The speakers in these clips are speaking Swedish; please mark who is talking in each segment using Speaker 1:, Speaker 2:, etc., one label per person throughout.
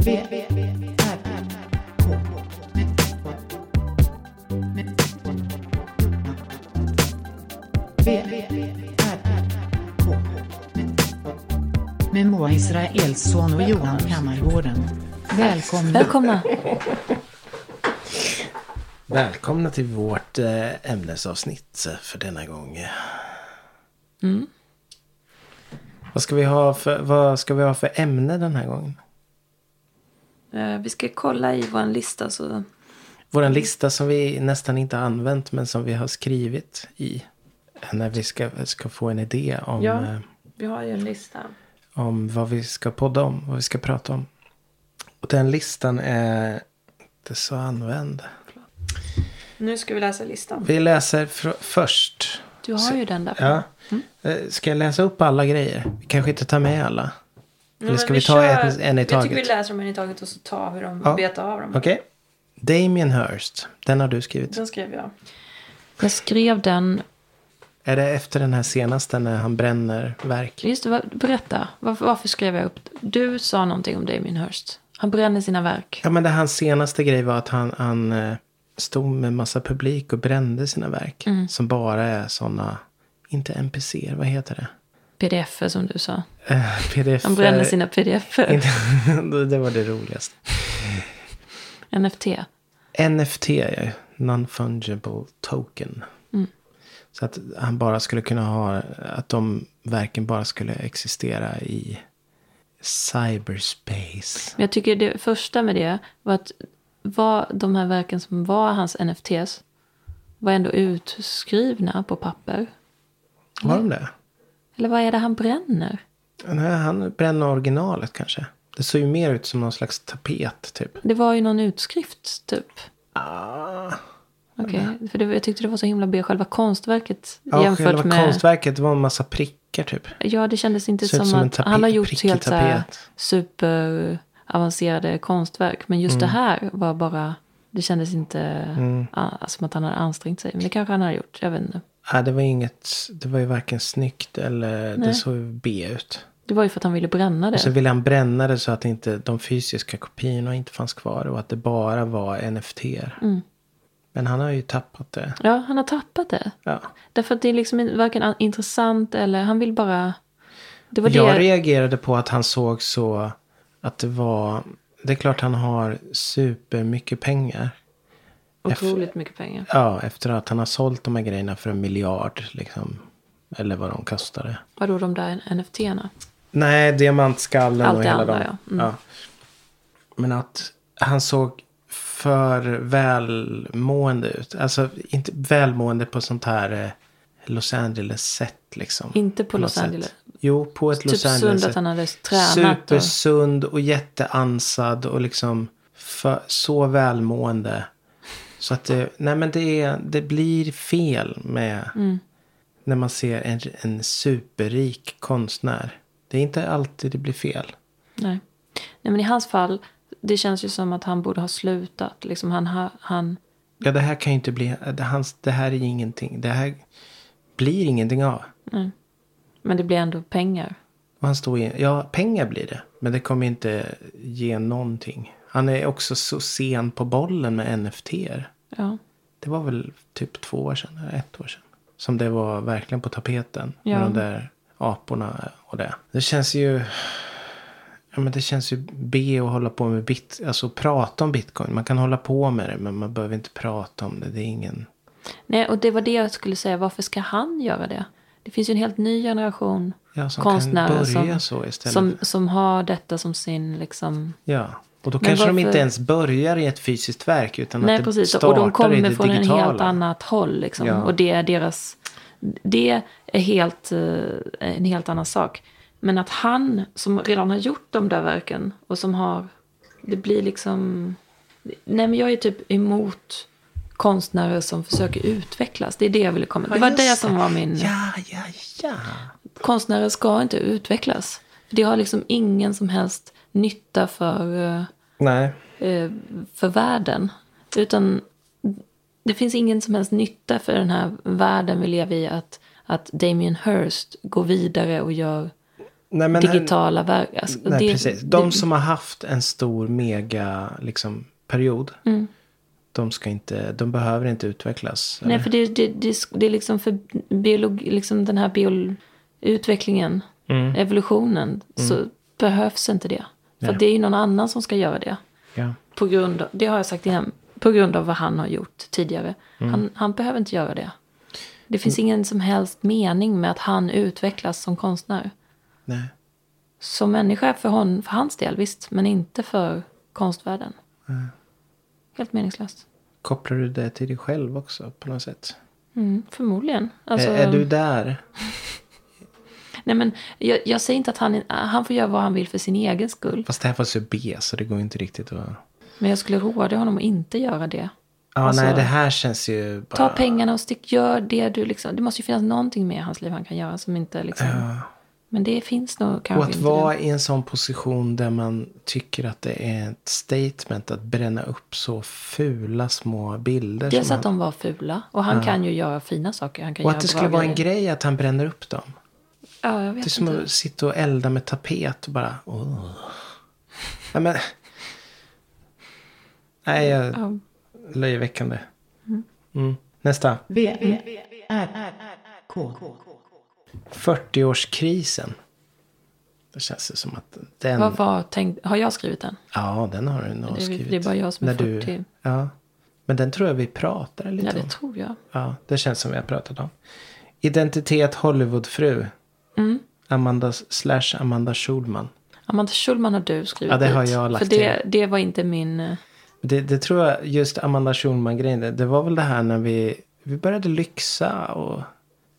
Speaker 1: V, R, K. V, R, K. Med Moa Israelsson och Johan Kammargården. Välkomna.
Speaker 2: Välkomna.
Speaker 3: Välkomna till vårt eh, ämnesavsnitt för denna gång. Vad, ska vi ha för, vad ska vi ha för ämne den här gången?
Speaker 2: Eh, Vi ska kolla i vår lista så
Speaker 3: Vår lista som vi nästan inte har använt men som vi har skrivit i. När vi ska, ska få en idé om, eh,
Speaker 2: vi har ju en lista.
Speaker 3: om vad vi ska podda om, vad vi ska prata om. Och den listan är inte så använd.
Speaker 2: Nu ska vi läsa listan.
Speaker 3: Vi läser fr- först.
Speaker 2: Du har ju den där.
Speaker 3: Ja. Eh, Ska jag läsa upp alla grejer? Vi kanske inte tar med alla.
Speaker 2: Nej,
Speaker 3: Eller
Speaker 2: men
Speaker 3: ska vi, ta en, en i
Speaker 2: Jag tycker vi
Speaker 3: taget?
Speaker 2: läser dem en i taget och så tar vi dem
Speaker 3: Ja.
Speaker 2: betar av dem.
Speaker 3: Okej. Damien Hirst. Den har du skrivit.
Speaker 2: Den skrev jag.
Speaker 4: Jag skrev den,
Speaker 3: Är det efter den här senaste när han bränner verk?
Speaker 4: just det, vad- berätta, varför, varför skrev jag upp Du sa någonting om Damien Hirst. Han bränner sina verk.
Speaker 3: Ja men det hans senaste grej var att han, han eh, stod med massa publik och brände sina verk. Som bara är sådana, inte NPC, vad heter det?
Speaker 4: pdf som du sa.
Speaker 3: Eh, PDF.
Speaker 4: Han bränner sina pdf
Speaker 3: det var det roligaste.
Speaker 4: NFT.
Speaker 3: NFT, ja, non-fungible token.
Speaker 4: Mm.
Speaker 3: Så att han bara skulle kunna ha, att de verken bara skulle existera i cyberspace.
Speaker 4: Men jag tycker det första med det var att var de här verken som var hans NFTs var ändå utskrivna på papper.
Speaker 3: Var de det?
Speaker 4: Eller vad är det han bränner?
Speaker 3: Nej, han bränner originalet kanske. Det såg ju mer ut som någon slags tapet typ.
Speaker 4: Det var ju någon utskrift typ.
Speaker 3: Ah.
Speaker 4: Okej, för det, jag tyckte det var så himla B. Själva konstverket
Speaker 3: Mm. Ja,
Speaker 4: jämfört
Speaker 3: själva
Speaker 4: med...
Speaker 3: konstverket var en massa prickar typ.
Speaker 4: Ja, det kändes inte
Speaker 3: Ser ut
Speaker 4: som,
Speaker 3: som en
Speaker 4: att
Speaker 3: tapet-
Speaker 4: han har gjort
Speaker 3: prickig
Speaker 4: helt så här
Speaker 3: tapet.
Speaker 4: superavancerade konstverk. Men just
Speaker 3: Mm.
Speaker 4: det här var bara, det kändes inte ah, som att han hade ansträngt sig. Men det kanske han har gjort, jag vet inte.
Speaker 3: Ja, Ah, det var inget, det var ju varken snyggt eller det såg ju B ut.
Speaker 4: Det var ju för att han ville bränna det.
Speaker 3: Och så ville han bränna det så att inte de fysiska kopiorna inte fanns kvar och att det bara var nft
Speaker 4: Mm.
Speaker 3: Men han har ju tappat det.
Speaker 4: Ja, han har tappat det.
Speaker 3: Ja.
Speaker 4: Därför att det är liksom in- varken an- intressant eller, han vill bara... Det var
Speaker 3: Jag
Speaker 4: det.
Speaker 3: reagerade på att han såg så att det var... Det är klart han har supermycket pengar.
Speaker 4: Otroligt mycket pengar.
Speaker 3: Ja, efter att han har sålt de här grejerna för en miljard. Liksom. Eller vad de kostade.
Speaker 4: Vadå de där NFT-erna?
Speaker 3: Nej, diamantskallen
Speaker 4: Allt
Speaker 3: och
Speaker 4: det
Speaker 3: hela
Speaker 4: andra,
Speaker 3: dem.
Speaker 4: ja. Mm.
Speaker 3: Men att han såg för välmående ut. Alltså inte välmående på sånt här eh, Los Angeles-sätt liksom.
Speaker 4: Inte på
Speaker 3: något
Speaker 4: Los Angeles.
Speaker 3: Sätt. Jo, på ett
Speaker 4: Typ
Speaker 3: Los
Speaker 4: sund att
Speaker 3: Angeles-sätt.
Speaker 4: han hade tränat. Och,
Speaker 3: Supersund och jätteansad och liksom för, så välmående. Så att det, nej men det, är, det blir fel med
Speaker 4: Mm.
Speaker 3: när man ser en, en superrik konstnär. Det är inte alltid det blir fel.
Speaker 4: Nej. Nej, men i hans fall, det känns ju som att han borde ha slutat. Liksom han, ha, han,
Speaker 3: Ja, det här kan ju inte bli, det, hans, det här är ingenting. Det här blir ingenting av.
Speaker 4: men det blir ändå pengar.
Speaker 3: Och han står i, ja, pengar blir det. Men det kommer inte ge någonting. Han är också så sen på bollen med NFT-er.
Speaker 4: Ja.
Speaker 3: Det var väl typ två år sedan, eller ett år sedan. Som det var verkligen på tapeten.
Speaker 4: Ja.
Speaker 3: Med de där aporna och det. Det känns ju... Ja, men det känns ju B att hålla på med bit, alltså prata om bitcoin. Man kan hålla på med det men man behöver inte prata om det. Det är ingen...
Speaker 4: Nej, och det var det jag skulle säga. Varför ska han göra det? Det finns ju en helt ny generation
Speaker 3: Ja, som kan
Speaker 4: konstnärer som,
Speaker 3: börja så istället.
Speaker 4: som, som har detta som sin... Liksom,
Speaker 3: Ja. Och då
Speaker 4: Men
Speaker 3: kanske de
Speaker 4: varför-
Speaker 3: inte ens börjar i ett fysiskt verk utan att
Speaker 4: nej,
Speaker 3: det
Speaker 4: precis.
Speaker 3: startar
Speaker 4: Och de
Speaker 3: i
Speaker 4: kommer
Speaker 3: det
Speaker 4: från
Speaker 3: digitala.
Speaker 4: en helt annat håll. Liksom,
Speaker 3: Ja.
Speaker 4: Och det är deras... Det är helt, eh, en helt annan sak. Men att han, som redan har gjort de där verken och som har... Det blir liksom... Nej, men jag är typ emot konstnärer som försöker utvecklas. Det är det jag ville komma Det var
Speaker 3: just
Speaker 4: det som var min...
Speaker 3: Ja, ja, ja.
Speaker 4: Konstnärer ska inte utvecklas. Det har liksom ingen som helst nytta för, eh,
Speaker 3: Nej.
Speaker 4: eh, för världen. Utan det finns ingen som helst nytta för den här världen vi lever i att, att Damien Hirst går vidare och gör
Speaker 3: Nej, men
Speaker 4: digitala verk. Alltså,
Speaker 3: Nej,
Speaker 4: det-
Speaker 3: precis. De
Speaker 4: det-
Speaker 3: som har haft en stor mega liksom, period.
Speaker 4: Mm.
Speaker 3: De, ska inte, de behöver inte utvecklas.
Speaker 4: Nej, för det, det, det, det är liksom för biologi, liksom den här biol, utvecklingen, evolutionen, så behövs inte det. För
Speaker 3: Nej.
Speaker 4: att det är ju någon annan som ska göra det.
Speaker 3: Ja.
Speaker 4: På grund av, det har jag sagt innan, på grund av vad han har gjort tidigare.
Speaker 3: Mm.
Speaker 4: Han, han behöver inte göra det. Det finns ingen som helst mening med att han utvecklas som konstnär.
Speaker 3: Nej.
Speaker 4: Som människa för, hon, för hans del, visst, men inte för konstvärlden.
Speaker 3: Mm.
Speaker 4: Helt meningslöst.
Speaker 3: Kopplar du det till dig själv också på något sätt?
Speaker 4: Mm, förmodligen. Alltså-
Speaker 3: Är, är du där?
Speaker 4: Nej, men jag, jag säger inte att han, han får göra vad han vill för sin egen skull.
Speaker 3: Fast det här var så B så det går inte riktigt att...
Speaker 4: Men jag skulle råda honom att inte göra det.
Speaker 3: Ja,
Speaker 4: Alltså,
Speaker 3: nej, det här känns ju bara...
Speaker 4: Ta pengarna och stick, gör det du liksom. Det måste ju finnas någonting med i hans liv han kan göra som inte liksom. Men det finns nog kanske
Speaker 3: Och att
Speaker 4: inte.
Speaker 3: vara i en sån position där man tycker att det är ett statement att bränna upp så fula små bilder.
Speaker 4: Dels
Speaker 3: som
Speaker 4: att
Speaker 3: han...
Speaker 4: de var fula. Och han kan ju göra fina saker. Han kan
Speaker 3: Och
Speaker 4: göra
Speaker 3: att det
Speaker 4: bra
Speaker 3: skulle vara en
Speaker 4: grejer.
Speaker 3: grej att han bränner upp dem.
Speaker 4: Ja, jag
Speaker 3: Det är
Speaker 4: vet
Speaker 3: som
Speaker 4: inte.
Speaker 3: att sitta och elda med tapet och bara... Åh. Nej, men... Nej, jag...
Speaker 4: Ja.
Speaker 3: löjeväckande. Mm. Nästa.
Speaker 1: V, V, R, K.
Speaker 3: 40-årskrisen. Då känns det som att den...
Speaker 4: Vad var tänkt? Har jag skrivit den?
Speaker 3: Ja, den har du nog
Speaker 4: Det är-
Speaker 3: skrivit.
Speaker 4: det är bara jag som är
Speaker 3: När du-
Speaker 4: 40.
Speaker 3: Ja. Men den tror jag vi pratar lite
Speaker 4: Ja, det
Speaker 3: om.
Speaker 4: tror jag.
Speaker 3: Ja, det känns som vi har pratat om. Identitet Hollywoodfru. Mm. Amanda slash Amanda Schulman.
Speaker 4: Amanda Schulman har du skrivit
Speaker 3: Ja, det har
Speaker 4: dit.
Speaker 3: jag lagt
Speaker 4: För det, det var inte min... eh,
Speaker 3: Det, det tror jag, just Amanda Schulman-grejen, det, det var väl det här när vi, vi började lyxa och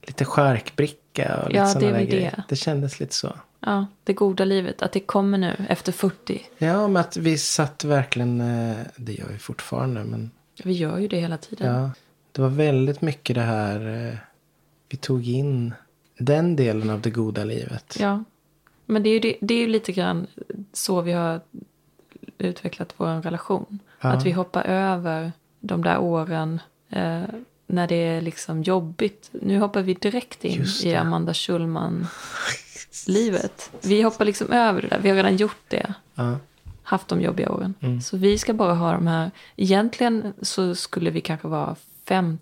Speaker 3: lite charkbricka och lite
Speaker 4: Ja, det
Speaker 3: sådana
Speaker 4: är
Speaker 3: där
Speaker 4: väl
Speaker 3: grejer.
Speaker 4: det.
Speaker 3: Det kändes lite så.
Speaker 4: Ja, det goda livet. Att det kommer nu efter 40.
Speaker 3: Ja, men att vi satt verkligen, eh, det gör vi fortfarande, men
Speaker 4: Vi gör ju det hela tiden.
Speaker 3: Ja, det var väldigt mycket det här. eh, Vi tog in den delen av det goda livet.
Speaker 4: Ja. Men det är, ju, det, det är ju lite grann så vi har utvecklat vår relation.
Speaker 3: Ja.
Speaker 4: Att vi hoppar över de där åren eh, när det är liksom jobbigt. Nu hoppar vi direkt in
Speaker 3: Just
Speaker 4: i Amanda Schulman-livet. Vi hoppar liksom över det där. Vi har redan gjort det.
Speaker 3: Ja.
Speaker 4: haft de jobbiga åren.
Speaker 3: Mm.
Speaker 4: Så vi ska bara ha de här. Egentligen så skulle vi kanske vara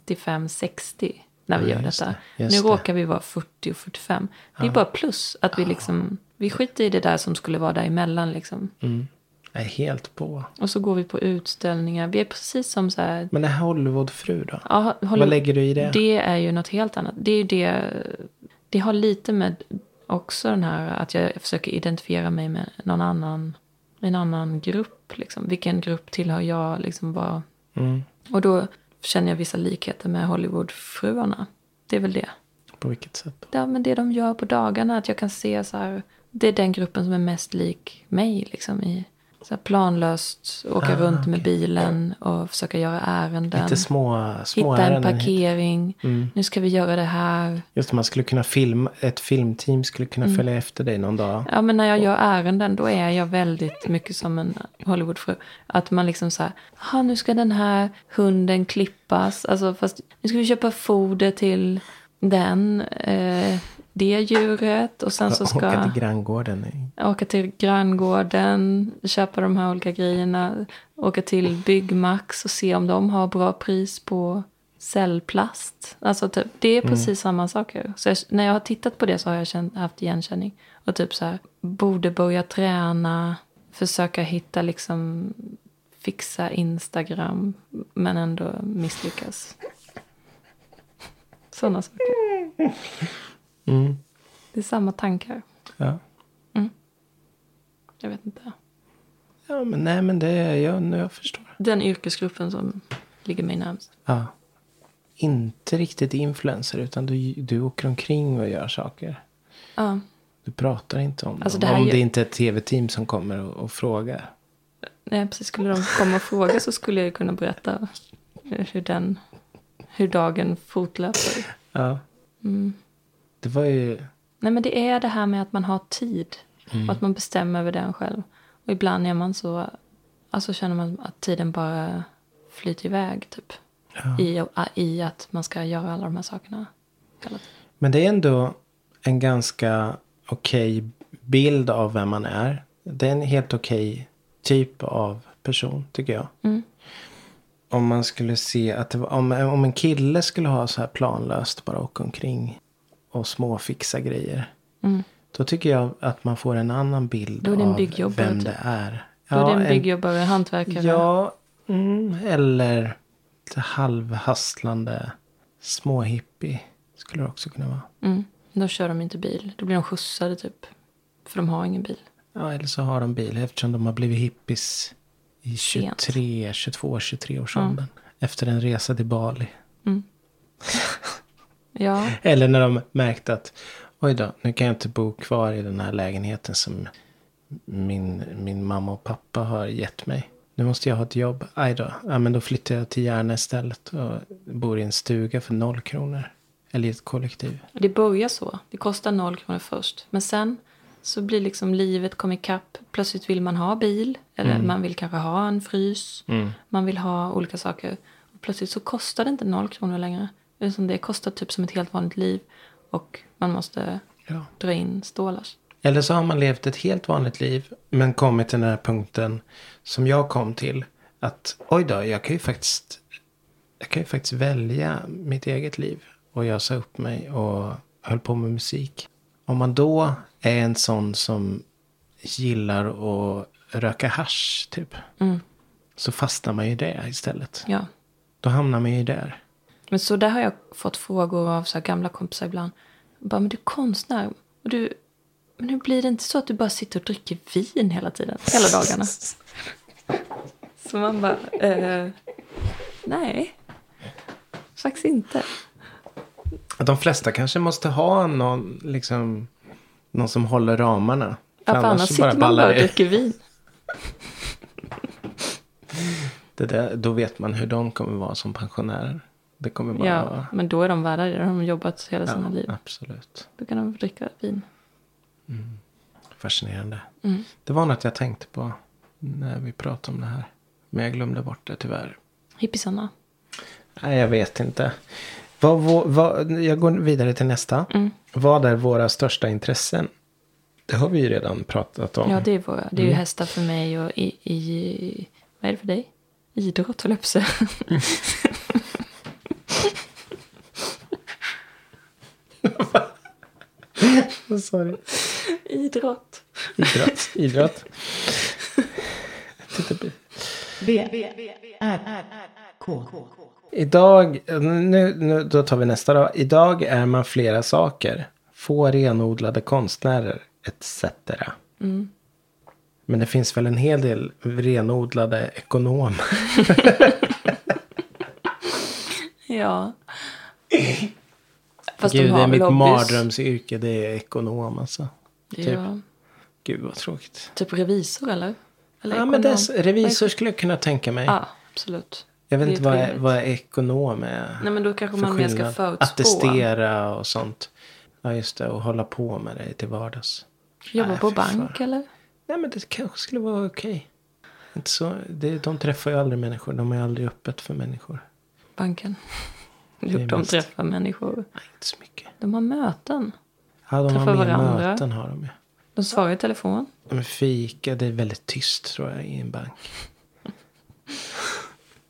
Speaker 4: 55-60 när vi
Speaker 3: Ja,
Speaker 4: gör
Speaker 3: just
Speaker 4: detta.
Speaker 3: det,
Speaker 4: nu
Speaker 3: just det.
Speaker 4: råkar vi vara 40 och 45. Det är bara plus att vi liksom, vi skiter i det där som skulle vara däremellan liksom.
Speaker 3: Mm. Jag är helt på.
Speaker 4: Och så går vi på utställningar. Vi är precis som så här,
Speaker 3: Men det här Hollywoodfru då?
Speaker 4: ja, håller-
Speaker 3: Vad lägger du i det?
Speaker 4: Det är ju något helt annat. Det är ju det, det har lite med också den här att jag försöker identifiera mig med någon annan, en annan grupp. Liksom. Vilken grupp tillhör jag? Liksom, vad...
Speaker 3: Mm.
Speaker 4: Och då känner jag vissa likheter med Hollywoodfruarna. Det är väl det.
Speaker 3: På vilket sätt?
Speaker 4: Ja, men det de gör på dagarna, att jag kan se så här, det är den gruppen som är mest lik mig. Liksom, i, så här planlöst åka
Speaker 3: Ah,
Speaker 4: runt med
Speaker 3: okej.
Speaker 4: bilen och försöka göra ärenden.
Speaker 3: Lite små, små
Speaker 4: Hitta en
Speaker 3: ärenden Mm. hit.
Speaker 4: parkering. Nu ska vi göra det här.
Speaker 3: Just det, man skulle kunna filma, ett filmteam skulle kunna
Speaker 4: Mm.
Speaker 3: följa efter dig någon dag.
Speaker 4: Ja, men när jag gör ärenden då är jag väldigt mycket som en Hollywoodfru. Att man liksom så här, "Jaha, nu ska den här hunden klippas. Alltså, fast nu ska vi köpa foder till den, eh, det djuret. Och sen så Alltså, ska
Speaker 3: Åka till granngården.
Speaker 4: åka till granngården, köpa de här olika grejerna, åka till Byggmax och se om de har bra pris på cellplast. Alltså typ, det är precis samma saker. Så jag, när jag har tittat på det så har jag känt, haft igenkänning. Och typ så här, borde börja träna, försöka hitta liksom, fixa Instagram, men ändå misslyckas. Sådana saker. Det är samma tankar.
Speaker 3: Ja.
Speaker 4: Jag vet inte.
Speaker 3: ja, men nej, men det är jag, nu jag förstår.
Speaker 4: den yrkesgruppen som ligger mig närmast.
Speaker 3: Ja. Inte riktigt influencer, utan du, du åker omkring och gör saker.
Speaker 4: Ja.
Speaker 3: Du pratar inte om
Speaker 4: Alltså,
Speaker 3: dem.
Speaker 4: det här
Speaker 3: Om
Speaker 4: ju-
Speaker 3: det inte är ett tv-team som kommer och, och frågar.
Speaker 4: Nej, precis. Skulle de komma och fråga så skulle jag ju kunna berätta hur, den, hur dagen fortlöper.
Speaker 3: Ja.
Speaker 4: Mm.
Speaker 3: Det var ju...
Speaker 4: Nej, men det är det här med att man har tid
Speaker 3: Mm.
Speaker 4: och att man bestämmer över den själv. Och ibland är man så, alltså känner man att tiden bara flyter iväg typ. I, I att man ska göra alla de här sakerna. hela tiden.
Speaker 3: Men det är ändå en ganska okej bild av vem man är. Det är en helt okej typ av person tycker jag.
Speaker 4: Mm.
Speaker 3: Om man skulle se att det var, om, om en kille skulle ha så här planlöst bara åka omkring och småfixa grejer. Då tycker jag att man får en annan bild
Speaker 4: Mm. Då är det en
Speaker 3: av
Speaker 4: byggjobbare,
Speaker 3: vem
Speaker 4: typ.
Speaker 3: det är.
Speaker 4: Då är det
Speaker 3: en-
Speaker 4: en byggjobbare, hantverkare.
Speaker 3: Ja, mm, eller lite halvhastlande småhippie skulle det också kunna vara.
Speaker 4: Mm. Då kör de inte bil. Då blir de skjutsade typ. För de har ingen bil.
Speaker 3: Ja, eller så har de bil eftersom de har blivit hippies i 23, 22, 23 års åldern. Efter en resa till Bali.
Speaker 4: Ja,
Speaker 3: Eller när de märkte att oj då, nu kan jag inte bo kvar i den här lägenheten som min, min mamma och pappa har gett mig. Nu måste jag ha ett jobb. Aj då, ja, men då flyttar jag till Järna istället och bor i en stuga för noll kronor. Eller i ett kollektiv.
Speaker 4: det börjar så. Det kostar noll kronor först. Men sen så blir liksom livet kom ikapp. Plötsligt vill man ha bil. Eller man vill kanske ha en frys. Man vill ha olika saker. Och plötsligt så kostar det inte noll kronor längre. Utan det kostar typ som ett helt vanligt liv. Och man måste
Speaker 3: Ja.
Speaker 4: dra in stålar.
Speaker 3: Eller så har man levt ett helt vanligt liv men kommit till den här punkten som jag kom till. Att oj då, jag kan ju faktiskt, jag kan ju faktiskt välja mitt eget liv. Och jag sa upp mig och höll på med musik. Om man då är en sån som gillar att röka hasch typ. Så fastnar man ju i det istället.
Speaker 4: Mm. Ja.
Speaker 3: Då hamnar man ju där.
Speaker 4: Men så där har jag fått frågor av så här gamla kompisar ibland. Bara, men du är konstnär. Och du, men hur blir det inte så att du bara sitter och dricker vin hela tiden? Hela dagarna. så man bara, eh, nej. Faktiskt inte.
Speaker 3: Att de flesta kanske måste ha någon, liksom, någon som håller ramarna.
Speaker 4: Ja, för annars sitter man bara och
Speaker 3: ur.
Speaker 4: dricker vin.
Speaker 3: Det där, då vet man hur de kommer vara som pensionärer. Det kommer bara
Speaker 4: Ja,
Speaker 3: vara...
Speaker 4: men då är de värda det. Då har de jobbat hela sina liv.
Speaker 3: absolut.
Speaker 4: Då kan de dricka vin.
Speaker 3: Fascinerande.
Speaker 4: Mm.
Speaker 3: Det var något jag tänkte på när vi pratade om det här. Men jag glömde bort det tyvärr.
Speaker 4: Hippisarna.
Speaker 3: Nej, jag vet inte. Vad, vå- vad, jag går vidare till nästa.
Speaker 4: Mm.
Speaker 3: Vad är våra största intressen? Det har vi ju redan pratat om.
Speaker 4: Ja, Mm. det är våra. Det är ju hästar för mig och i, i... Vad är det för dig? Idrott, höll jag på att säga.
Speaker 3: det... Sorry.
Speaker 4: Idrott.
Speaker 3: Idrott. Idrott. Titta-
Speaker 1: B, R, K.
Speaker 3: Idag, nu, nu, då tar vi nästa då. Idag är man flera saker. Få renodlade konstnärer, etc.
Speaker 4: Mm.
Speaker 3: Men det finns väl en hel del renodlade ekonomer.
Speaker 4: Ja. Fast
Speaker 3: Gud,
Speaker 4: de
Speaker 3: det
Speaker 4: har
Speaker 3: är
Speaker 4: väl
Speaker 3: mitt
Speaker 4: hobbies.
Speaker 3: mardrömsyrke, det är ekonom alltså. Typ.
Speaker 4: Ja.
Speaker 3: Gud vad tråkigt.
Speaker 4: Typ revisor eller? eller
Speaker 3: Ja, men det är, s-
Speaker 4: ekonom.
Speaker 3: revisor skulle jag kunna tänka mig.
Speaker 4: Ja, absolut.
Speaker 3: jag vet
Speaker 4: det är
Speaker 3: inte vad,
Speaker 4: trevligt.
Speaker 3: vad ekonom är.
Speaker 4: Nej men då kanske
Speaker 3: för
Speaker 4: man mer ska
Speaker 3: skillnad.
Speaker 4: förutspå.
Speaker 3: Attestera och sånt. Ja, just det. Och hålla på med det till vardags.
Speaker 4: Jobba
Speaker 3: Nej,
Speaker 4: på
Speaker 3: fy fan.
Speaker 4: bank eller?
Speaker 3: Nej men det kanske skulle vara okej. Inte så, det, de träffar ju aldrig människor. De är aldrig öppet för människor.
Speaker 4: Banken.
Speaker 3: är
Speaker 4: Jo, de
Speaker 3: mest-
Speaker 4: träffar människor.
Speaker 3: Nej, inte så mycket.
Speaker 4: De har möten.
Speaker 3: Ja, de
Speaker 4: Träffar
Speaker 3: har mer
Speaker 4: varandra.
Speaker 3: möten har de ju.
Speaker 4: De svarar i telefon.
Speaker 3: Ja, Men fika, det är väldigt tyst tror jag i en bank.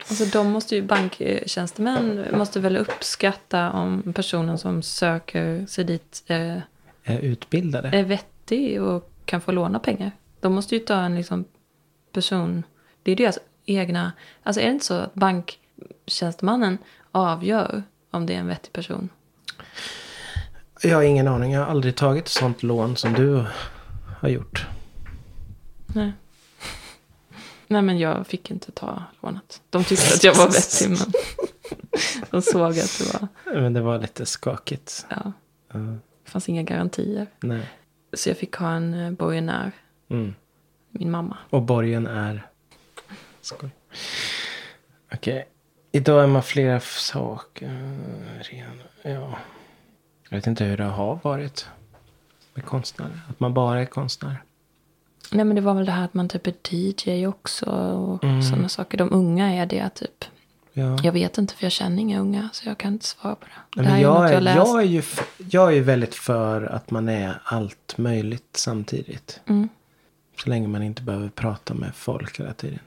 Speaker 4: Alltså de måste ju, banktjänstemän måste väl uppskatta om personen som söker sig dit eh,
Speaker 3: Är utbildade.
Speaker 4: är vettig och kan få låna pengar. De måste ju ta en liksom person... Det är deras egna... Alltså är det inte så att banktjänstemannen avgör om det är en vettig person?
Speaker 3: Jag har ingen aning. Jag har aldrig tagit ett sånt lån som du har gjort.
Speaker 4: Nej. Nej men jag fick inte ta lånet. De tyckte att jag var vettig men de såg att det var...
Speaker 3: Men det var lite skakigt.
Speaker 4: Ja. Det fanns inga garantier.
Speaker 3: Nej.
Speaker 4: Så jag fick ha en eh, borgenär.
Speaker 3: Mm.
Speaker 4: Min mamma.
Speaker 3: Och borgen är... Skoj. Okej. Idag är man flera f- saker. eh, Ren. Ja. Jag vet inte hur det har varit. Med konstnärer. Att man bara är konstnär.
Speaker 4: Nej men det var väl det här att man typ är DJ också och sådana saker. De unga är det typ.
Speaker 3: Ja.
Speaker 4: Jag vet inte för jag känner inga unga så jag kan inte svara på det.
Speaker 3: Mm. Nej,
Speaker 4: det
Speaker 3: men
Speaker 4: här är något
Speaker 3: jag,
Speaker 4: jag
Speaker 3: är,
Speaker 4: läst.
Speaker 3: jag, är ju, f- jag är ju väldigt för att man är allt möjligt samtidigt.
Speaker 4: Mm.
Speaker 3: Så länge man inte behöver prata med folk hela tiden.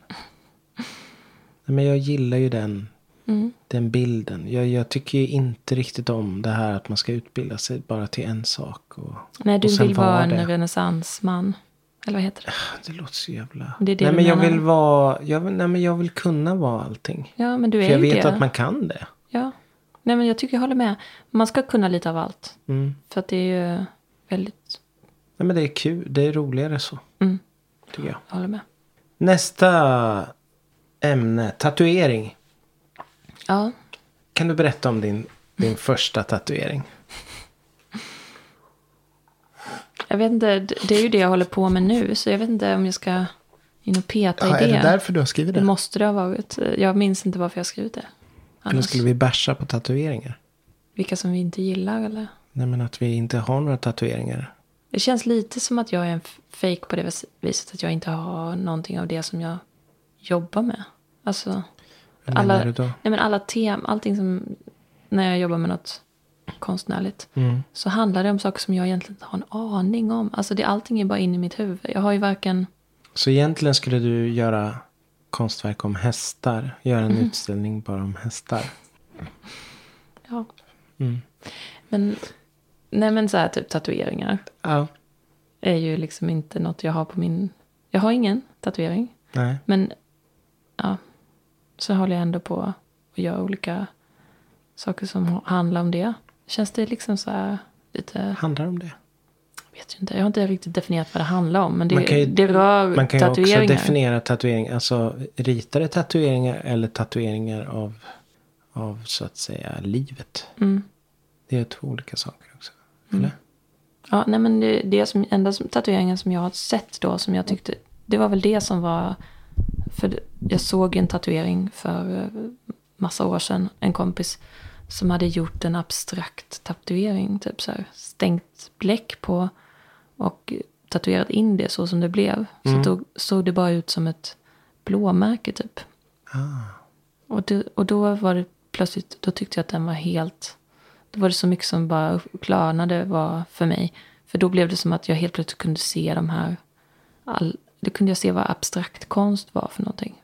Speaker 3: Nej, men jag gillar ju den,
Speaker 4: Mm.
Speaker 3: den bilden. Jag, jag tycker ju inte riktigt om det här att man ska utbilda sig bara till en sak. Och,
Speaker 4: Nej,
Speaker 3: och
Speaker 4: du
Speaker 3: sen
Speaker 4: vill vara
Speaker 3: det. Ah,
Speaker 4: en renässansman. Eller vad heter det?
Speaker 3: Det låter så jävla...
Speaker 4: Det är det
Speaker 3: nej,
Speaker 4: du
Speaker 3: men jag
Speaker 4: menar.
Speaker 3: vill vara... Jag, vill- nej, men jag vill kunna vara allting.
Speaker 4: Ja, men du är
Speaker 3: För jag
Speaker 4: ju
Speaker 3: vet
Speaker 4: det.
Speaker 3: att man kan det.
Speaker 4: Ja. Nej, men jag tycker jag håller med. Man ska kunna lite av allt.
Speaker 3: Mm.
Speaker 4: För att det är ju väldigt...
Speaker 3: Nej, men det är kul. Det är roligare så.
Speaker 4: Mm.
Speaker 3: Tycker jag.
Speaker 4: Jag håller med.
Speaker 3: Nästa ämne. Tatuering.
Speaker 4: Ja.
Speaker 3: Kan du berätta om din, din första tatuering?
Speaker 4: Jag vet inte, d- det är ju det jag håller på med nu. Så jag vet inte om jag ska in och peta
Speaker 5: Ja,
Speaker 4: i
Speaker 5: är
Speaker 4: det.
Speaker 5: det därför du har skrivit
Speaker 4: Det
Speaker 5: det?
Speaker 4: måste det ha varit. Jag minns inte varför jag skrivit det.
Speaker 3: Eller
Speaker 4: Annars.
Speaker 3: skulle vi basha på tatueringar?
Speaker 4: Vilka som vi inte gillar eller?
Speaker 3: Nej, men att vi inte har några tatueringar.
Speaker 4: Det känns lite som att jag är en f- fake på det vis- viset att jag inte har någonting av det som jag jobbar med. Alltså,
Speaker 3: Vad menar
Speaker 4: alla,
Speaker 3: du då?
Speaker 4: nej men alla tem, allting som, när jag jobbar med något konstnärligt,
Speaker 3: Mm.
Speaker 4: så handlar det om saker som jag egentligen inte har en aning om. Alltså det, allting är bara in i mitt huvud. Jag har ju varken,
Speaker 3: Så egentligen skulle du göra konstverk om hästar. Göra
Speaker 4: Mhm.
Speaker 3: en utställning bara om hästar.
Speaker 4: ja.
Speaker 3: Mm.
Speaker 4: Men, nej men så här typ tatueringar
Speaker 3: Ja.
Speaker 4: är ju liksom inte något jag har på min, jag har ingen tatuering.
Speaker 3: Nej.
Speaker 4: Men ja, så håller jag ändå på och gör olika saker som handlar om det. Känns det liksom så här lite,
Speaker 3: Handlar det om det?
Speaker 4: jag vet ju inte, jag har inte riktigt definierat vad det handlar om. Men
Speaker 3: Man
Speaker 4: det,
Speaker 3: kan ju-
Speaker 4: det rör
Speaker 3: Man kan ju också
Speaker 4: tatueringar.
Speaker 3: definiera tatueringar. Alltså ritade tatueringar eller tatueringar av, av så att säga livet.
Speaker 4: Mm.
Speaker 3: Det är två olika saker också. Eller?
Speaker 4: Ja, nej men det, det som, enda som, tatueringen som jag har sett då som jag tyckte, det var väl det som var, för jag såg en tatuering för eh, massa år sedan, en kompis som hade gjort en abstrakt tatuering, typ så här, stängt bläck på och tatuerat in det så som det blev. Så då såg det bara ut som ett blåmärke typ. Och, det, och då var det plötsligt, då tyckte jag att den var helt, då var det så mycket som bara upp- klarnade var för mig. För då blev det som att jag helt plötsligt kunde se de här, all, då kunde jag se vad abstrakt konst var för någonting.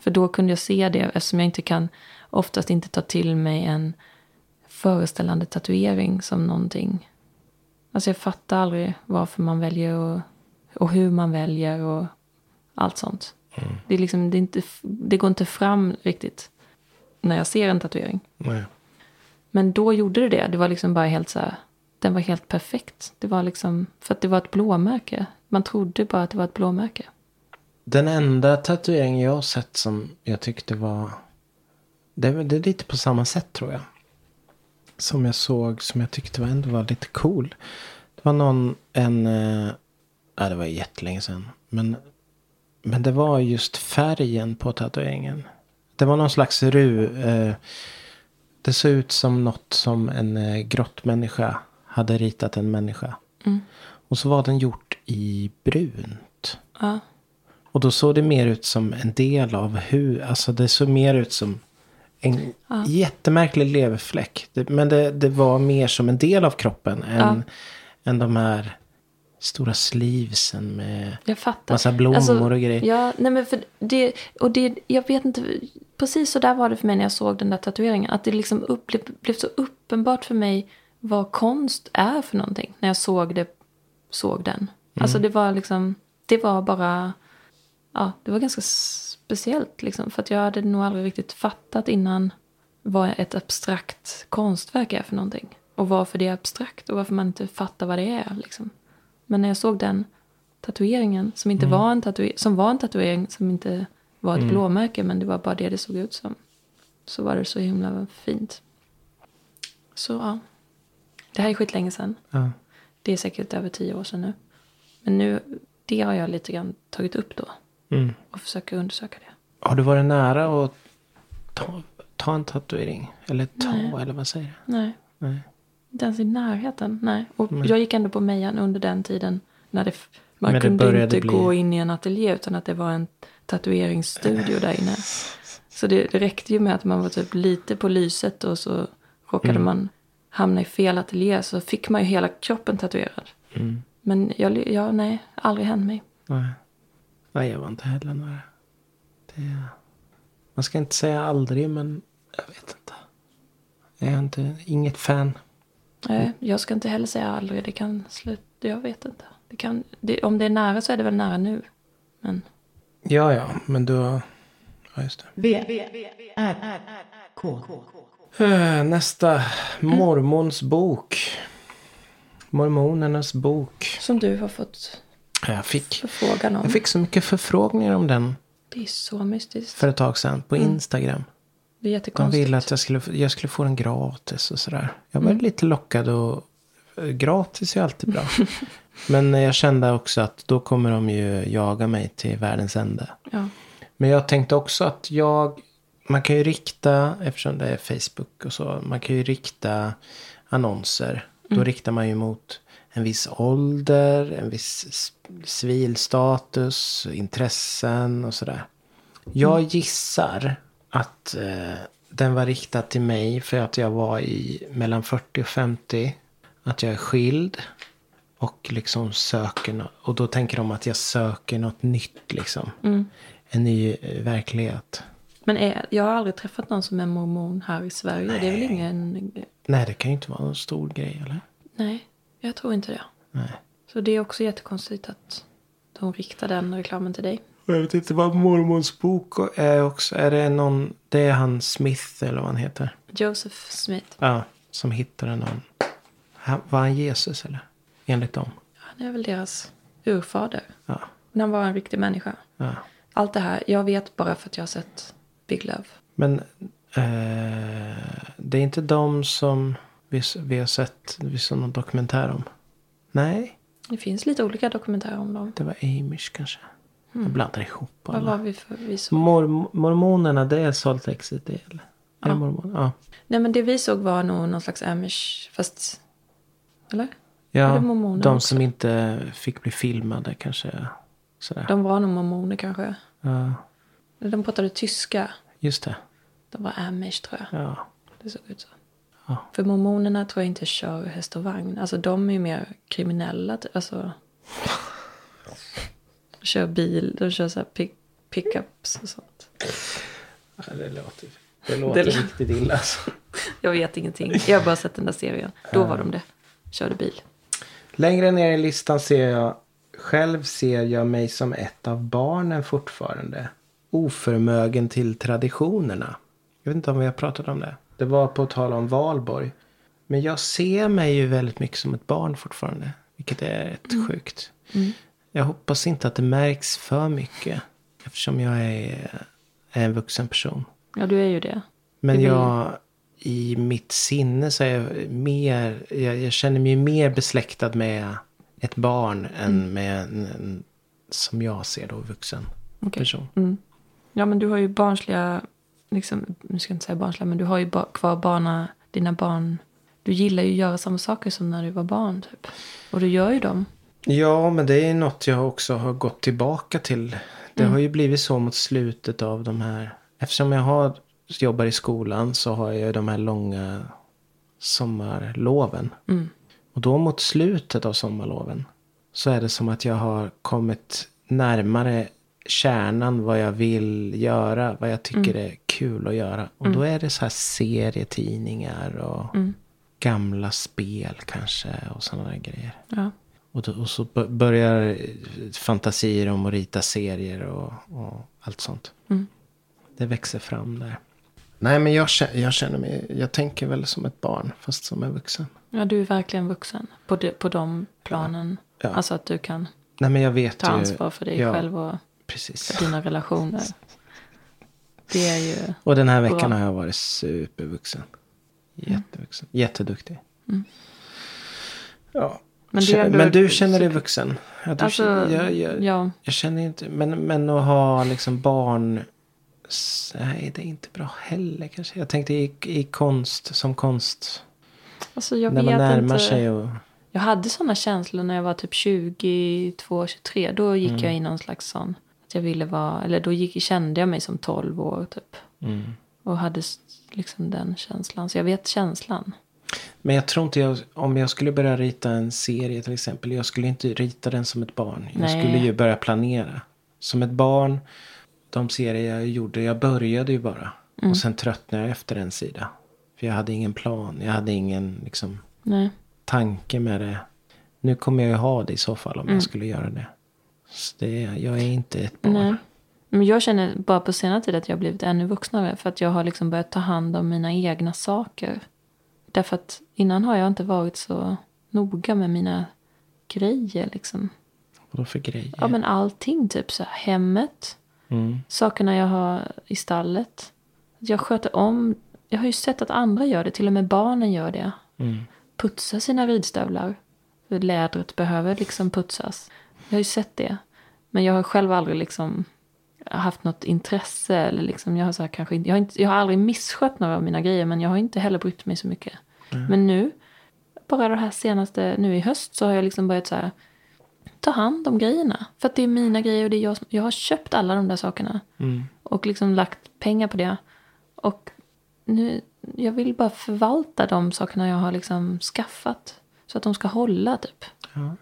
Speaker 4: För då kunde jag se det eftersom jag inte kan, oftast inte ta till mig en föreställande tatuering som någonting. Alltså jag fattar aldrig varför man väljer och, och hur man väljer och allt sånt. Det, är liksom, det, är inte, det går inte fram riktigt när jag ser en tatuering.
Speaker 3: Nej.
Speaker 4: Men då gjorde det det. Det var liksom bara helt så här. Den var helt perfekt. Det var liksom, för att det var ett blåmärke. Man trodde bara att det var ett blåmärke.
Speaker 3: Den enda tatuering jag har sett som jag tyckte var... Det, är- det är lite på samma sätt tror jag. Som jag såg, som jag tyckte var ändå var lite cool. Det var någon, en... eh, Ja, det var jättelänge sedan. Men, men det var just färgen på tatueringen. Det var någon slags ru... Eh, det såg ut som något som en eh, grottmänniska hade ritat en människa. Och så var den gjort i brunt.
Speaker 4: Ja.
Speaker 3: Och då såg det mer ut som en del av hur, alltså det såg mer ut som en jättemärklig leverfläck. Det, men det, det var mer som en del av kroppen än, än de här stora sleevesen med
Speaker 4: Jag fattar. Alltså,
Speaker 3: massa blommor och grejer.
Speaker 4: Ja, nej men för det, och det, jag vet inte, precis så där var det för mig när jag såg den där tatueringen. Att det liksom upp, blev, blev så uppenbart för mig vad konst är för någonting. När jag såg det, såg den.
Speaker 3: Mm.
Speaker 4: Alltså det var liksom, det var bara, ja, det var ganska speciellt liksom. För att jag hade nog aldrig riktigt fattat innan vad ett abstrakt konstverk är för någonting. Och varför det är abstrakt och varför man inte fattar vad det är liksom. Men när jag såg den tatueringen som inte var en tatuering, som var en tatuering som inte var ett blåmärke men det var bara det det såg ut som. Så var det så himla fint. Så ja. Det här är skitlänge sedan.
Speaker 3: Ja.
Speaker 4: Det är säkert över tio år sedan nu. Men nu, det har jag lite grann tagit upp då.
Speaker 3: Mm.
Speaker 4: Och försöker undersöka det.
Speaker 3: Har du varit nära att ta, ta en tatuering? Eller ta, eller vad säger jag?
Speaker 4: Nej.
Speaker 3: Nej.
Speaker 4: Inte ens i närheten. Nej. Och jag gick ändå på Mejan under den tiden när det, f- man
Speaker 3: Men det
Speaker 4: kunde
Speaker 3: började
Speaker 4: inte
Speaker 3: bli-
Speaker 4: gå in i en ateljé utan att det var en tatueringsstudio där inne. Så det, det räckte ju med att man var typ lite på lyset och så råkade
Speaker 3: Mm.
Speaker 4: man hamna i fel ateljé så fick man ju hela kroppen tatuerad.
Speaker 3: Mm.
Speaker 4: Men jag, jag, nej, aldrig hänt mig.
Speaker 3: Nej. Nej, jag var inte heller nära. Det... Man ska inte säga aldrig, men jag vet inte. Jag är inte, inget fan. Mm.
Speaker 4: Nej, Eh, jag ska inte heller säga aldrig. Det kan sluta, jag vet inte. Det kan, det, om det är nära så är det väl nära nu. Men
Speaker 3: Ja, ja, men då... Ja, just det.
Speaker 1: V, R, K.
Speaker 3: Eh, Nästa. Mormons bok. Mormonernas bok.
Speaker 4: som du har fått
Speaker 3: Jag fick,
Speaker 4: förfrågan om.
Speaker 3: jag fick så mycket förfrågningar om den
Speaker 4: Det är så mystiskt.
Speaker 3: för ett tag sedan på Instagram.
Speaker 4: Det är
Speaker 3: De
Speaker 4: jättekonstigt.
Speaker 3: ville att jag skulle, jag skulle få den gratis och sådär. Jag var lite lockad och eh, gratis är ju alltid bra. Men jag kände också att då kommer de ju jaga mig till världens ände.
Speaker 4: Ja.
Speaker 3: Men jag tänkte också att jag, man kan ju rikta, eftersom det är Facebook och så, man kan ju rikta annonser. Då riktar man ju mot en viss ålder, en viss s- civilstatus, intressen och sådär. Jag gissar att eh, den var riktad till mig för att jag var i mellan 40 och 50. Att jag är skild. Och liksom söker nå- Och då tänker de att jag söker något nytt liksom. En ny eh, verklighet.
Speaker 4: Men är, jag har aldrig träffat någon som är mormon här i Sverige. Det är väl ingen...
Speaker 3: Nej, det kan ju inte vara någon stor grej eller?
Speaker 4: Nej, jag tror inte det.
Speaker 3: Nej.
Speaker 4: Så det är också jättekonstigt att de riktar den reklamen till dig.
Speaker 3: Och jag vet inte vad mormons bok är också. Är det någon, det är han Smith eller vad han heter.
Speaker 4: Joseph Smith.
Speaker 3: Ja, som hittade någon. Han, var han Jesus eller? Enligt dem.
Speaker 4: Han är väl deras urfader.
Speaker 3: Ja,
Speaker 4: Men han var en riktig människa.
Speaker 3: ja.
Speaker 4: Allt det här, jag vet bara för att jag har sett Big Love.
Speaker 3: Men eh, det är inte de som vi, vi har sett, vi såg någon dokumentär om. Nej,
Speaker 4: Det finns lite olika dokumentärer om dem.
Speaker 3: det var Amish kanske. Jag blandar ihop
Speaker 4: Mm. Vad
Speaker 3: alla.
Speaker 4: var vi för vi såg?
Speaker 3: Mor, mormonerna, det är Salt Lake City eller? Ja. Är det mormon? Ja.
Speaker 4: Nej men det vi såg var nog någon slags amish, fast... Eller? Var
Speaker 3: Ja,
Speaker 4: det mormonerna
Speaker 3: de
Speaker 4: också?
Speaker 3: som inte fick bli filmade kanske. Sådär.
Speaker 4: De var nog mormoner kanske.
Speaker 3: Ja,
Speaker 4: De pratade tyska.
Speaker 3: just det.
Speaker 4: De var amish tror jag.
Speaker 3: Ja.
Speaker 4: Det såg ut så.
Speaker 3: Ja.
Speaker 4: För mormonerna tror jag inte kör häst och vagn. Alltså de är ju mer kriminella. ty- Alltså. kör bil. De kör så här pick, pickups och sånt.
Speaker 3: Det låter, det låter
Speaker 4: Det lå-
Speaker 3: riktigt illa alltså.
Speaker 4: Jag vet ingenting. Jag har bara sett den där serien. Då var de det. Körde bil.
Speaker 3: Längre ner i listan ser jag själv ser jag mig som ett av barnen fortfarande. Oförmögen till traditionerna. Jag vet inte om vi har pratat om det. Det var på tal om valborg. Men jag ser mig ju väldigt mycket som ett barn fortfarande. Vilket är rätt sjukt. Jag hoppas inte att det märks för mycket. Eftersom jag är, är en vuxen person.
Speaker 4: Ja du är ju det.
Speaker 3: Men jag, i mitt sinne så är jag mer, jag, jag känner mig mer besläktad med ett barn än med en, en, som jag ser då, vuxen
Speaker 4: Okej.
Speaker 3: person.
Speaker 4: Ja men du har ju barnsliga. Liksom, nu ska jag inte säga barnsliga. Men du har ju ba- kvar barna, dina barn. Du gillar ju att göra samma saker som när du var barn typ. Och du gör ju dem.
Speaker 3: Ja, men det är något jag också har gått tillbaka till. Det har ju blivit så mot slutet av de här. Eftersom jag har, jobbar i skolan så har jag ju de här långa sommarloven. Och då mot slutet av sommarloven så är det som att jag har kommit närmare kärnan vad jag vill göra, vad jag tycker är kul att göra. Och då är det så här serietidningar och gamla spel kanske och sådana där grejer.
Speaker 4: Ja.
Speaker 3: Och, då, och så bör- börjar eh, fantasier om att rita serier och, och allt sånt.
Speaker 4: Mm.
Speaker 3: Det växer fram där. Nej, men jag, kä- jag känner mig, jag tänker väl som ett barn, fast som en vuxen.
Speaker 4: Ja, du är verkligen vuxen på de, på de planen.
Speaker 3: Ja.
Speaker 4: Alltså att du kan
Speaker 3: Nej, men jag vet
Speaker 4: ta
Speaker 3: ju.
Speaker 4: ansvar för dig
Speaker 3: ja,
Speaker 4: själv och
Speaker 3: Precis.
Speaker 4: dina relationer. Det är ju...
Speaker 3: Och den här veckan
Speaker 4: Bra.
Speaker 3: har jag varit supervuxen.
Speaker 4: Mm.
Speaker 3: Jättevuxen. Jätteduktig. Ja.
Speaker 4: Men
Speaker 3: Men
Speaker 4: det
Speaker 3: du,
Speaker 4: är ändå-
Speaker 3: men du känner dig vuxen? Ja, du,
Speaker 4: Alltså,
Speaker 3: känner- jag, jag,
Speaker 4: ja.
Speaker 3: jag känner inte... Men, men att ha liksom barn... s- Nej, det är inte bra heller kanske. Jag tänkte i, i konst, som konst.
Speaker 4: Alltså jag
Speaker 3: när man
Speaker 4: vet
Speaker 3: närmar
Speaker 4: inte.
Speaker 3: sig och...
Speaker 4: Jag hade sådana känslor när jag var typ 22, 23. Då gick jag i någon slags sån Att jag ville vara, eller då gick, kände jag mig som 12 år typ. Och hade s- liksom den känslan. Så jag vet känslan.
Speaker 3: Men jag tror inte jag, om jag skulle börja rita en serie till exempel. Jag skulle inte rita den som ett barn. Jag
Speaker 4: Nej.
Speaker 3: skulle ju börja planera. Som ett barn, de serier jag gjorde, jag började ju bara.
Speaker 4: Mm.
Speaker 3: Och sen tröttnade jag efter en sida. För jag hade ingen plan, jag hade ingen liksom,
Speaker 4: Nej.
Speaker 3: tanke med det. Nu kommer jag ju ha det i så fall om
Speaker 4: Mm.
Speaker 3: jag skulle göra det. Så det, jag är inte ett barn.
Speaker 4: Nej. Men jag känner bara på senare tid att jag har blivit ännu vuxnare. För att jag har liksom börjat ta hand om mina egna saker. Därför att innan har jag inte varit så noga med mina grejer liksom.
Speaker 3: Vadå för grejer?
Speaker 4: Ja men allting typ så här, hemmet.
Speaker 3: Mm.
Speaker 4: Sakerna jag har i stallet. Jag sköter om. Jag har ju sett att andra gör det. Till och med barnen gör det. Putsa sina ridstövlar. För lädret behöver liksom putsas. Jag har ju sett det. Men jag har själv aldrig liksom haft något intresse. Eller liksom, jag, har så här, kanske, inte- jag, har inte, jag har aldrig misskött några av mina grejer. Men jag har inte heller brytt mig så mycket. Men nu. Bara det här senaste. Nu i höst så har jag liksom börjat så här ta hand om grejerna. För att det är mina grejer och det är jag som, Jag har köpt alla de där sakerna.
Speaker 3: Mm.
Speaker 4: Och liksom lagt pengar på det. Och nu, jag vill bara förvalta de sakerna jag har liksom skaffat. Så att de ska hålla typ.
Speaker 3: Ja.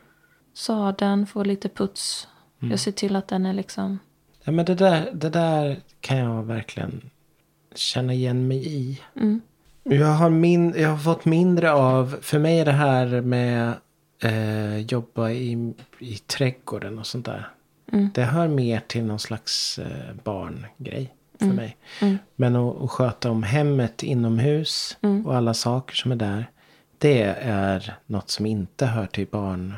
Speaker 4: Sadeln får lite puts.
Speaker 3: Mm.
Speaker 4: Jag ser till att den är liksom...
Speaker 3: Ja, men det, där, det där kan jag verkligen känna igen mig i. Jag, har min, jag har fått mindre av, för mig är det här med eh, jobba i, i trädgården och sånt där. Det hör mer till någon slags eh, barngrej för mig. Men att, att sköta om hemmet inomhus och alla saker som är där. Det är något som inte hör till barn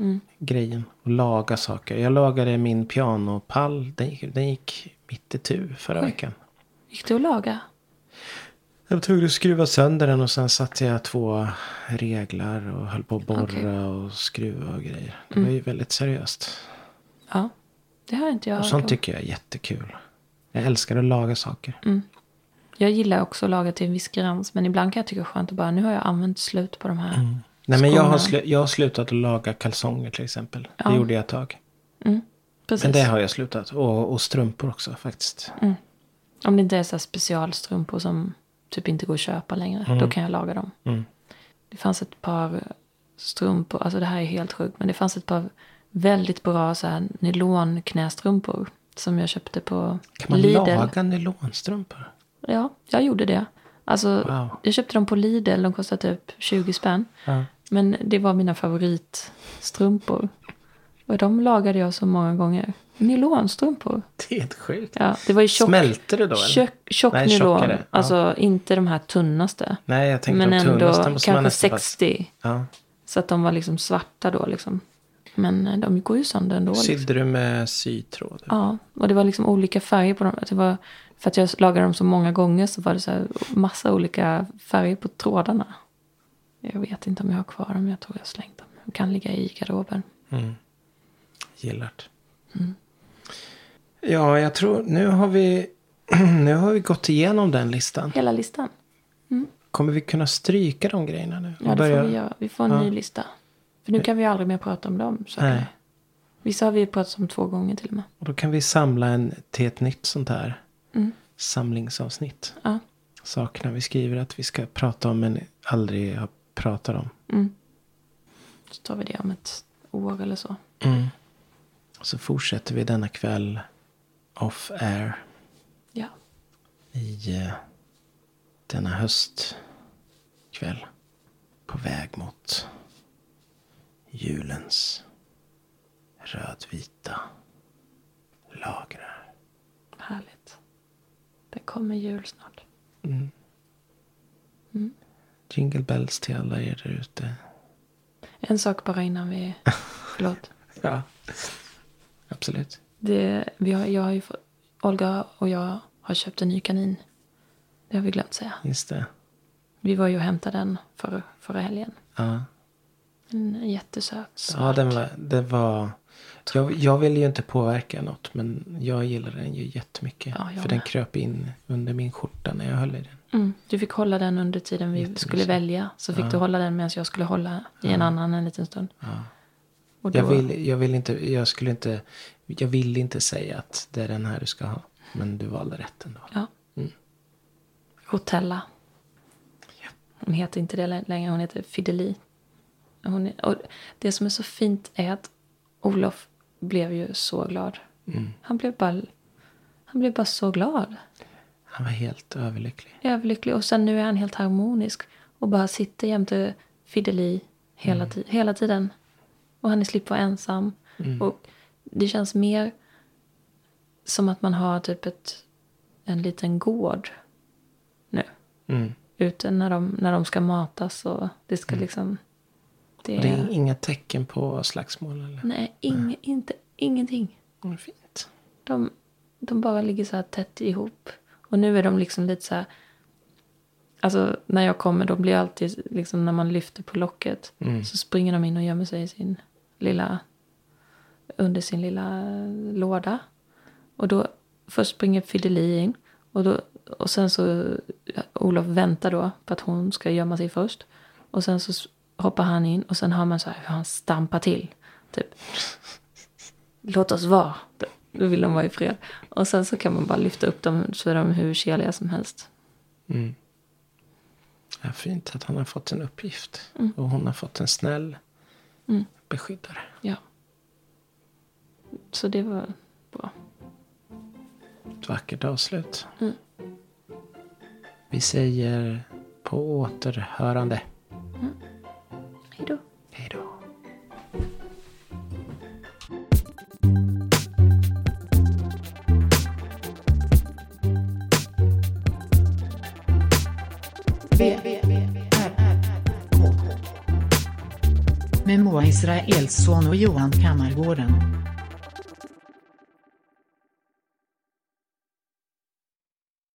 Speaker 3: Mm. grejen. Och laga saker. Jag lagade min pianopall. Den gick, den gick mitt i tu förra veckan.
Speaker 4: Gick det att laga?
Speaker 3: Jag var tvungen att skruva sönder den och sen satte jag två reglar och höll på att borra
Speaker 4: Okej.
Speaker 3: och skruva och grejer. Det var ju väldigt seriöst.
Speaker 4: Ja. Det har inte jag
Speaker 3: Och
Speaker 4: hört
Speaker 3: sånt
Speaker 4: om.
Speaker 3: tycker jag är jättekul. Jag älskar att laga saker.
Speaker 4: Jag gillar också att laga till en viss gräns. Men ibland kan jag tycka det är skönt att bara nu har jag använt slut på de här.
Speaker 3: Mm. Nej, men jag, har
Speaker 4: skorna.
Speaker 3: slu- jag har slutat att laga kalsonger till exempel.
Speaker 4: Ja.
Speaker 3: Det gjorde jag ett tag.
Speaker 4: Precis.
Speaker 3: Men det har jag slutat. Och, och strumpor också faktiskt.
Speaker 4: Om det inte är så här specialstrumpor som typ inte går att köpa längre.
Speaker 3: Mm.
Speaker 4: Då kan jag laga dem. Det fanns ett par strumpor, alltså det här är helt sjukt. Men det fanns ett par väldigt bra så här nylonknästrumpor. Som jag köpte på
Speaker 3: Kan man
Speaker 4: Lidl.
Speaker 3: laga nylonstrumpor?
Speaker 4: Ja, jag gjorde det. Alltså,
Speaker 3: Wow.
Speaker 4: jag köpte dem på Lidl. De kostade typ 20 spänn.
Speaker 3: Ja.
Speaker 4: Men det var mina favoritstrumpor. Och de lagade jag så många gånger. Nylonstrumpor.
Speaker 3: Det är helt sjukt.
Speaker 4: Ja, det var ju tjock,
Speaker 3: Smälte det då? Eller?
Speaker 4: tjock, tjock
Speaker 3: Nej,
Speaker 4: nylon.
Speaker 3: tjockare. Ja.
Speaker 4: Alltså inte de här tunnaste.
Speaker 3: Nej, jag tänkte
Speaker 4: Men
Speaker 3: de
Speaker 4: ändå
Speaker 3: tunnaste måste man
Speaker 4: kanske
Speaker 3: nästan bara-
Speaker 4: 60.
Speaker 3: Ja.
Speaker 4: Så att de var liksom svarta då liksom. Men eh, de går ju sönder ändå. Liksom.
Speaker 3: Sydde du med sytråd?
Speaker 4: Ja, och det var liksom olika färger på dem. Det var, för att jag lagade dem så många gånger så var det så här massa olika färger på trådarna. Jag vet inte om jag har kvar dem. Jag tror jag har slängt dem. De kan ligga i garderoben.
Speaker 3: Gillart.
Speaker 4: Mm.
Speaker 3: Ja, jag tror nu har vi nu har vi gått igenom den listan.
Speaker 4: Hela listan.
Speaker 3: Kommer vi kunna stryka de grejerna nu?
Speaker 4: Ja,
Speaker 3: Och
Speaker 4: det
Speaker 3: börja-
Speaker 4: får vi göra. Vi får en ny lista. För nu kan vi ju aldrig mer prata om dem. Så
Speaker 3: Nej.
Speaker 4: Vissa har vi pratat om två gånger till och med.
Speaker 3: Och då kan vi samla en till ett nytt sånt här
Speaker 4: Mm.
Speaker 3: samlingsavsnitt.
Speaker 4: Ja.
Speaker 3: Sakerna vi skriver att vi ska prata om men aldrig har pratat om.
Speaker 4: Så tar vi det om ett år eller så.
Speaker 3: Så fortsätter vi denna kväll off air
Speaker 4: Ja.
Speaker 3: i eh, denna höstkväll. På väg mot julens rödvita lagrar.
Speaker 4: Härligt. Det kommer jul snart.
Speaker 3: Jingle bells till alla er där ute.
Speaker 4: En sak bara innan vi... Förlåt.
Speaker 3: Ja. Absolut.
Speaker 4: Det, vi har, jag har ju fått, Olga och jag har köpt en ny kanin. Det har vi glömt säga.
Speaker 3: Just det.
Speaker 4: Vi var ju och hämtade den för, förra helgen.
Speaker 3: Ja.
Speaker 4: En jättesöt.
Speaker 3: Ja, den var... Det var jag, jag ville ju inte påverka något, men jag gillade den ju jättemycket.
Speaker 4: Ja, jag
Speaker 3: för den
Speaker 4: med.
Speaker 3: kröp in under min skjorta när jag höll i den.
Speaker 4: Mm, du fick hålla den under tiden vi skulle välja. Så fick du hålla den medan jag skulle hålla i en annan en liten stund. Och Och då,
Speaker 3: Jag vill, jag vill inte, jag skulle inte, jag vill inte säga att det är den här du ska ha. Men du valde rätt ändå.
Speaker 4: Ja. Rotella. Hon heter inte det lä- längre, hon heter Fideli. Hon är, och det som är så fint är att Olof blev ju så glad. Han, blev bara, han blev bara så glad.
Speaker 3: Han var helt överlycklig.
Speaker 4: Överlycklig. Och sen nu är han helt harmonisk. Och bara sitter jämte Fideli hela,
Speaker 3: Mm.
Speaker 4: ti- hela tiden. Och han är slipper vara ensam.
Speaker 3: Mm.
Speaker 4: Och det känns mer som att man har typ ett, en liten gård nu.
Speaker 3: Mm.
Speaker 4: Ute när de, när de ska matas och det ska liksom... Det
Speaker 3: Det är
Speaker 4: är,
Speaker 3: inga tecken på slagsmål eller?
Speaker 4: nej, ing, inte, ingenting.
Speaker 3: Mm, Fint.
Speaker 4: De, de bara ligger så här tätt ihop. Och nu är de liksom lite så här... Alltså när jag kommer, de blir alltid liksom när man lyfter på locket. Så springer de in och gömmer sig i sin lilla... Under sin lilla eh, låda. Och då först springer Fideli in. Och, då, och sen så ja, Olof väntar då på att hon ska gömma sig först. Och sen så s- hoppar han in och sen hör man så här hur han stampar till. Typ låt oss vara. Då vill de vara i fred. Och sen så kan man bara lyfta upp dem så är de hur keliga som helst.
Speaker 3: Ja, fint att han har fått en uppgift.
Speaker 4: Mm.
Speaker 3: Och hon har fått en snäll beskyddare.
Speaker 4: Ja. Så det var bra.
Speaker 3: Ett vackert avslut.
Speaker 4: Mm.
Speaker 3: Vi säger på återhörande.
Speaker 4: Hej då.
Speaker 3: Hej då.
Speaker 1: V, V, V, R, R, K. Med Moa Israelsson och Johan Kammargården.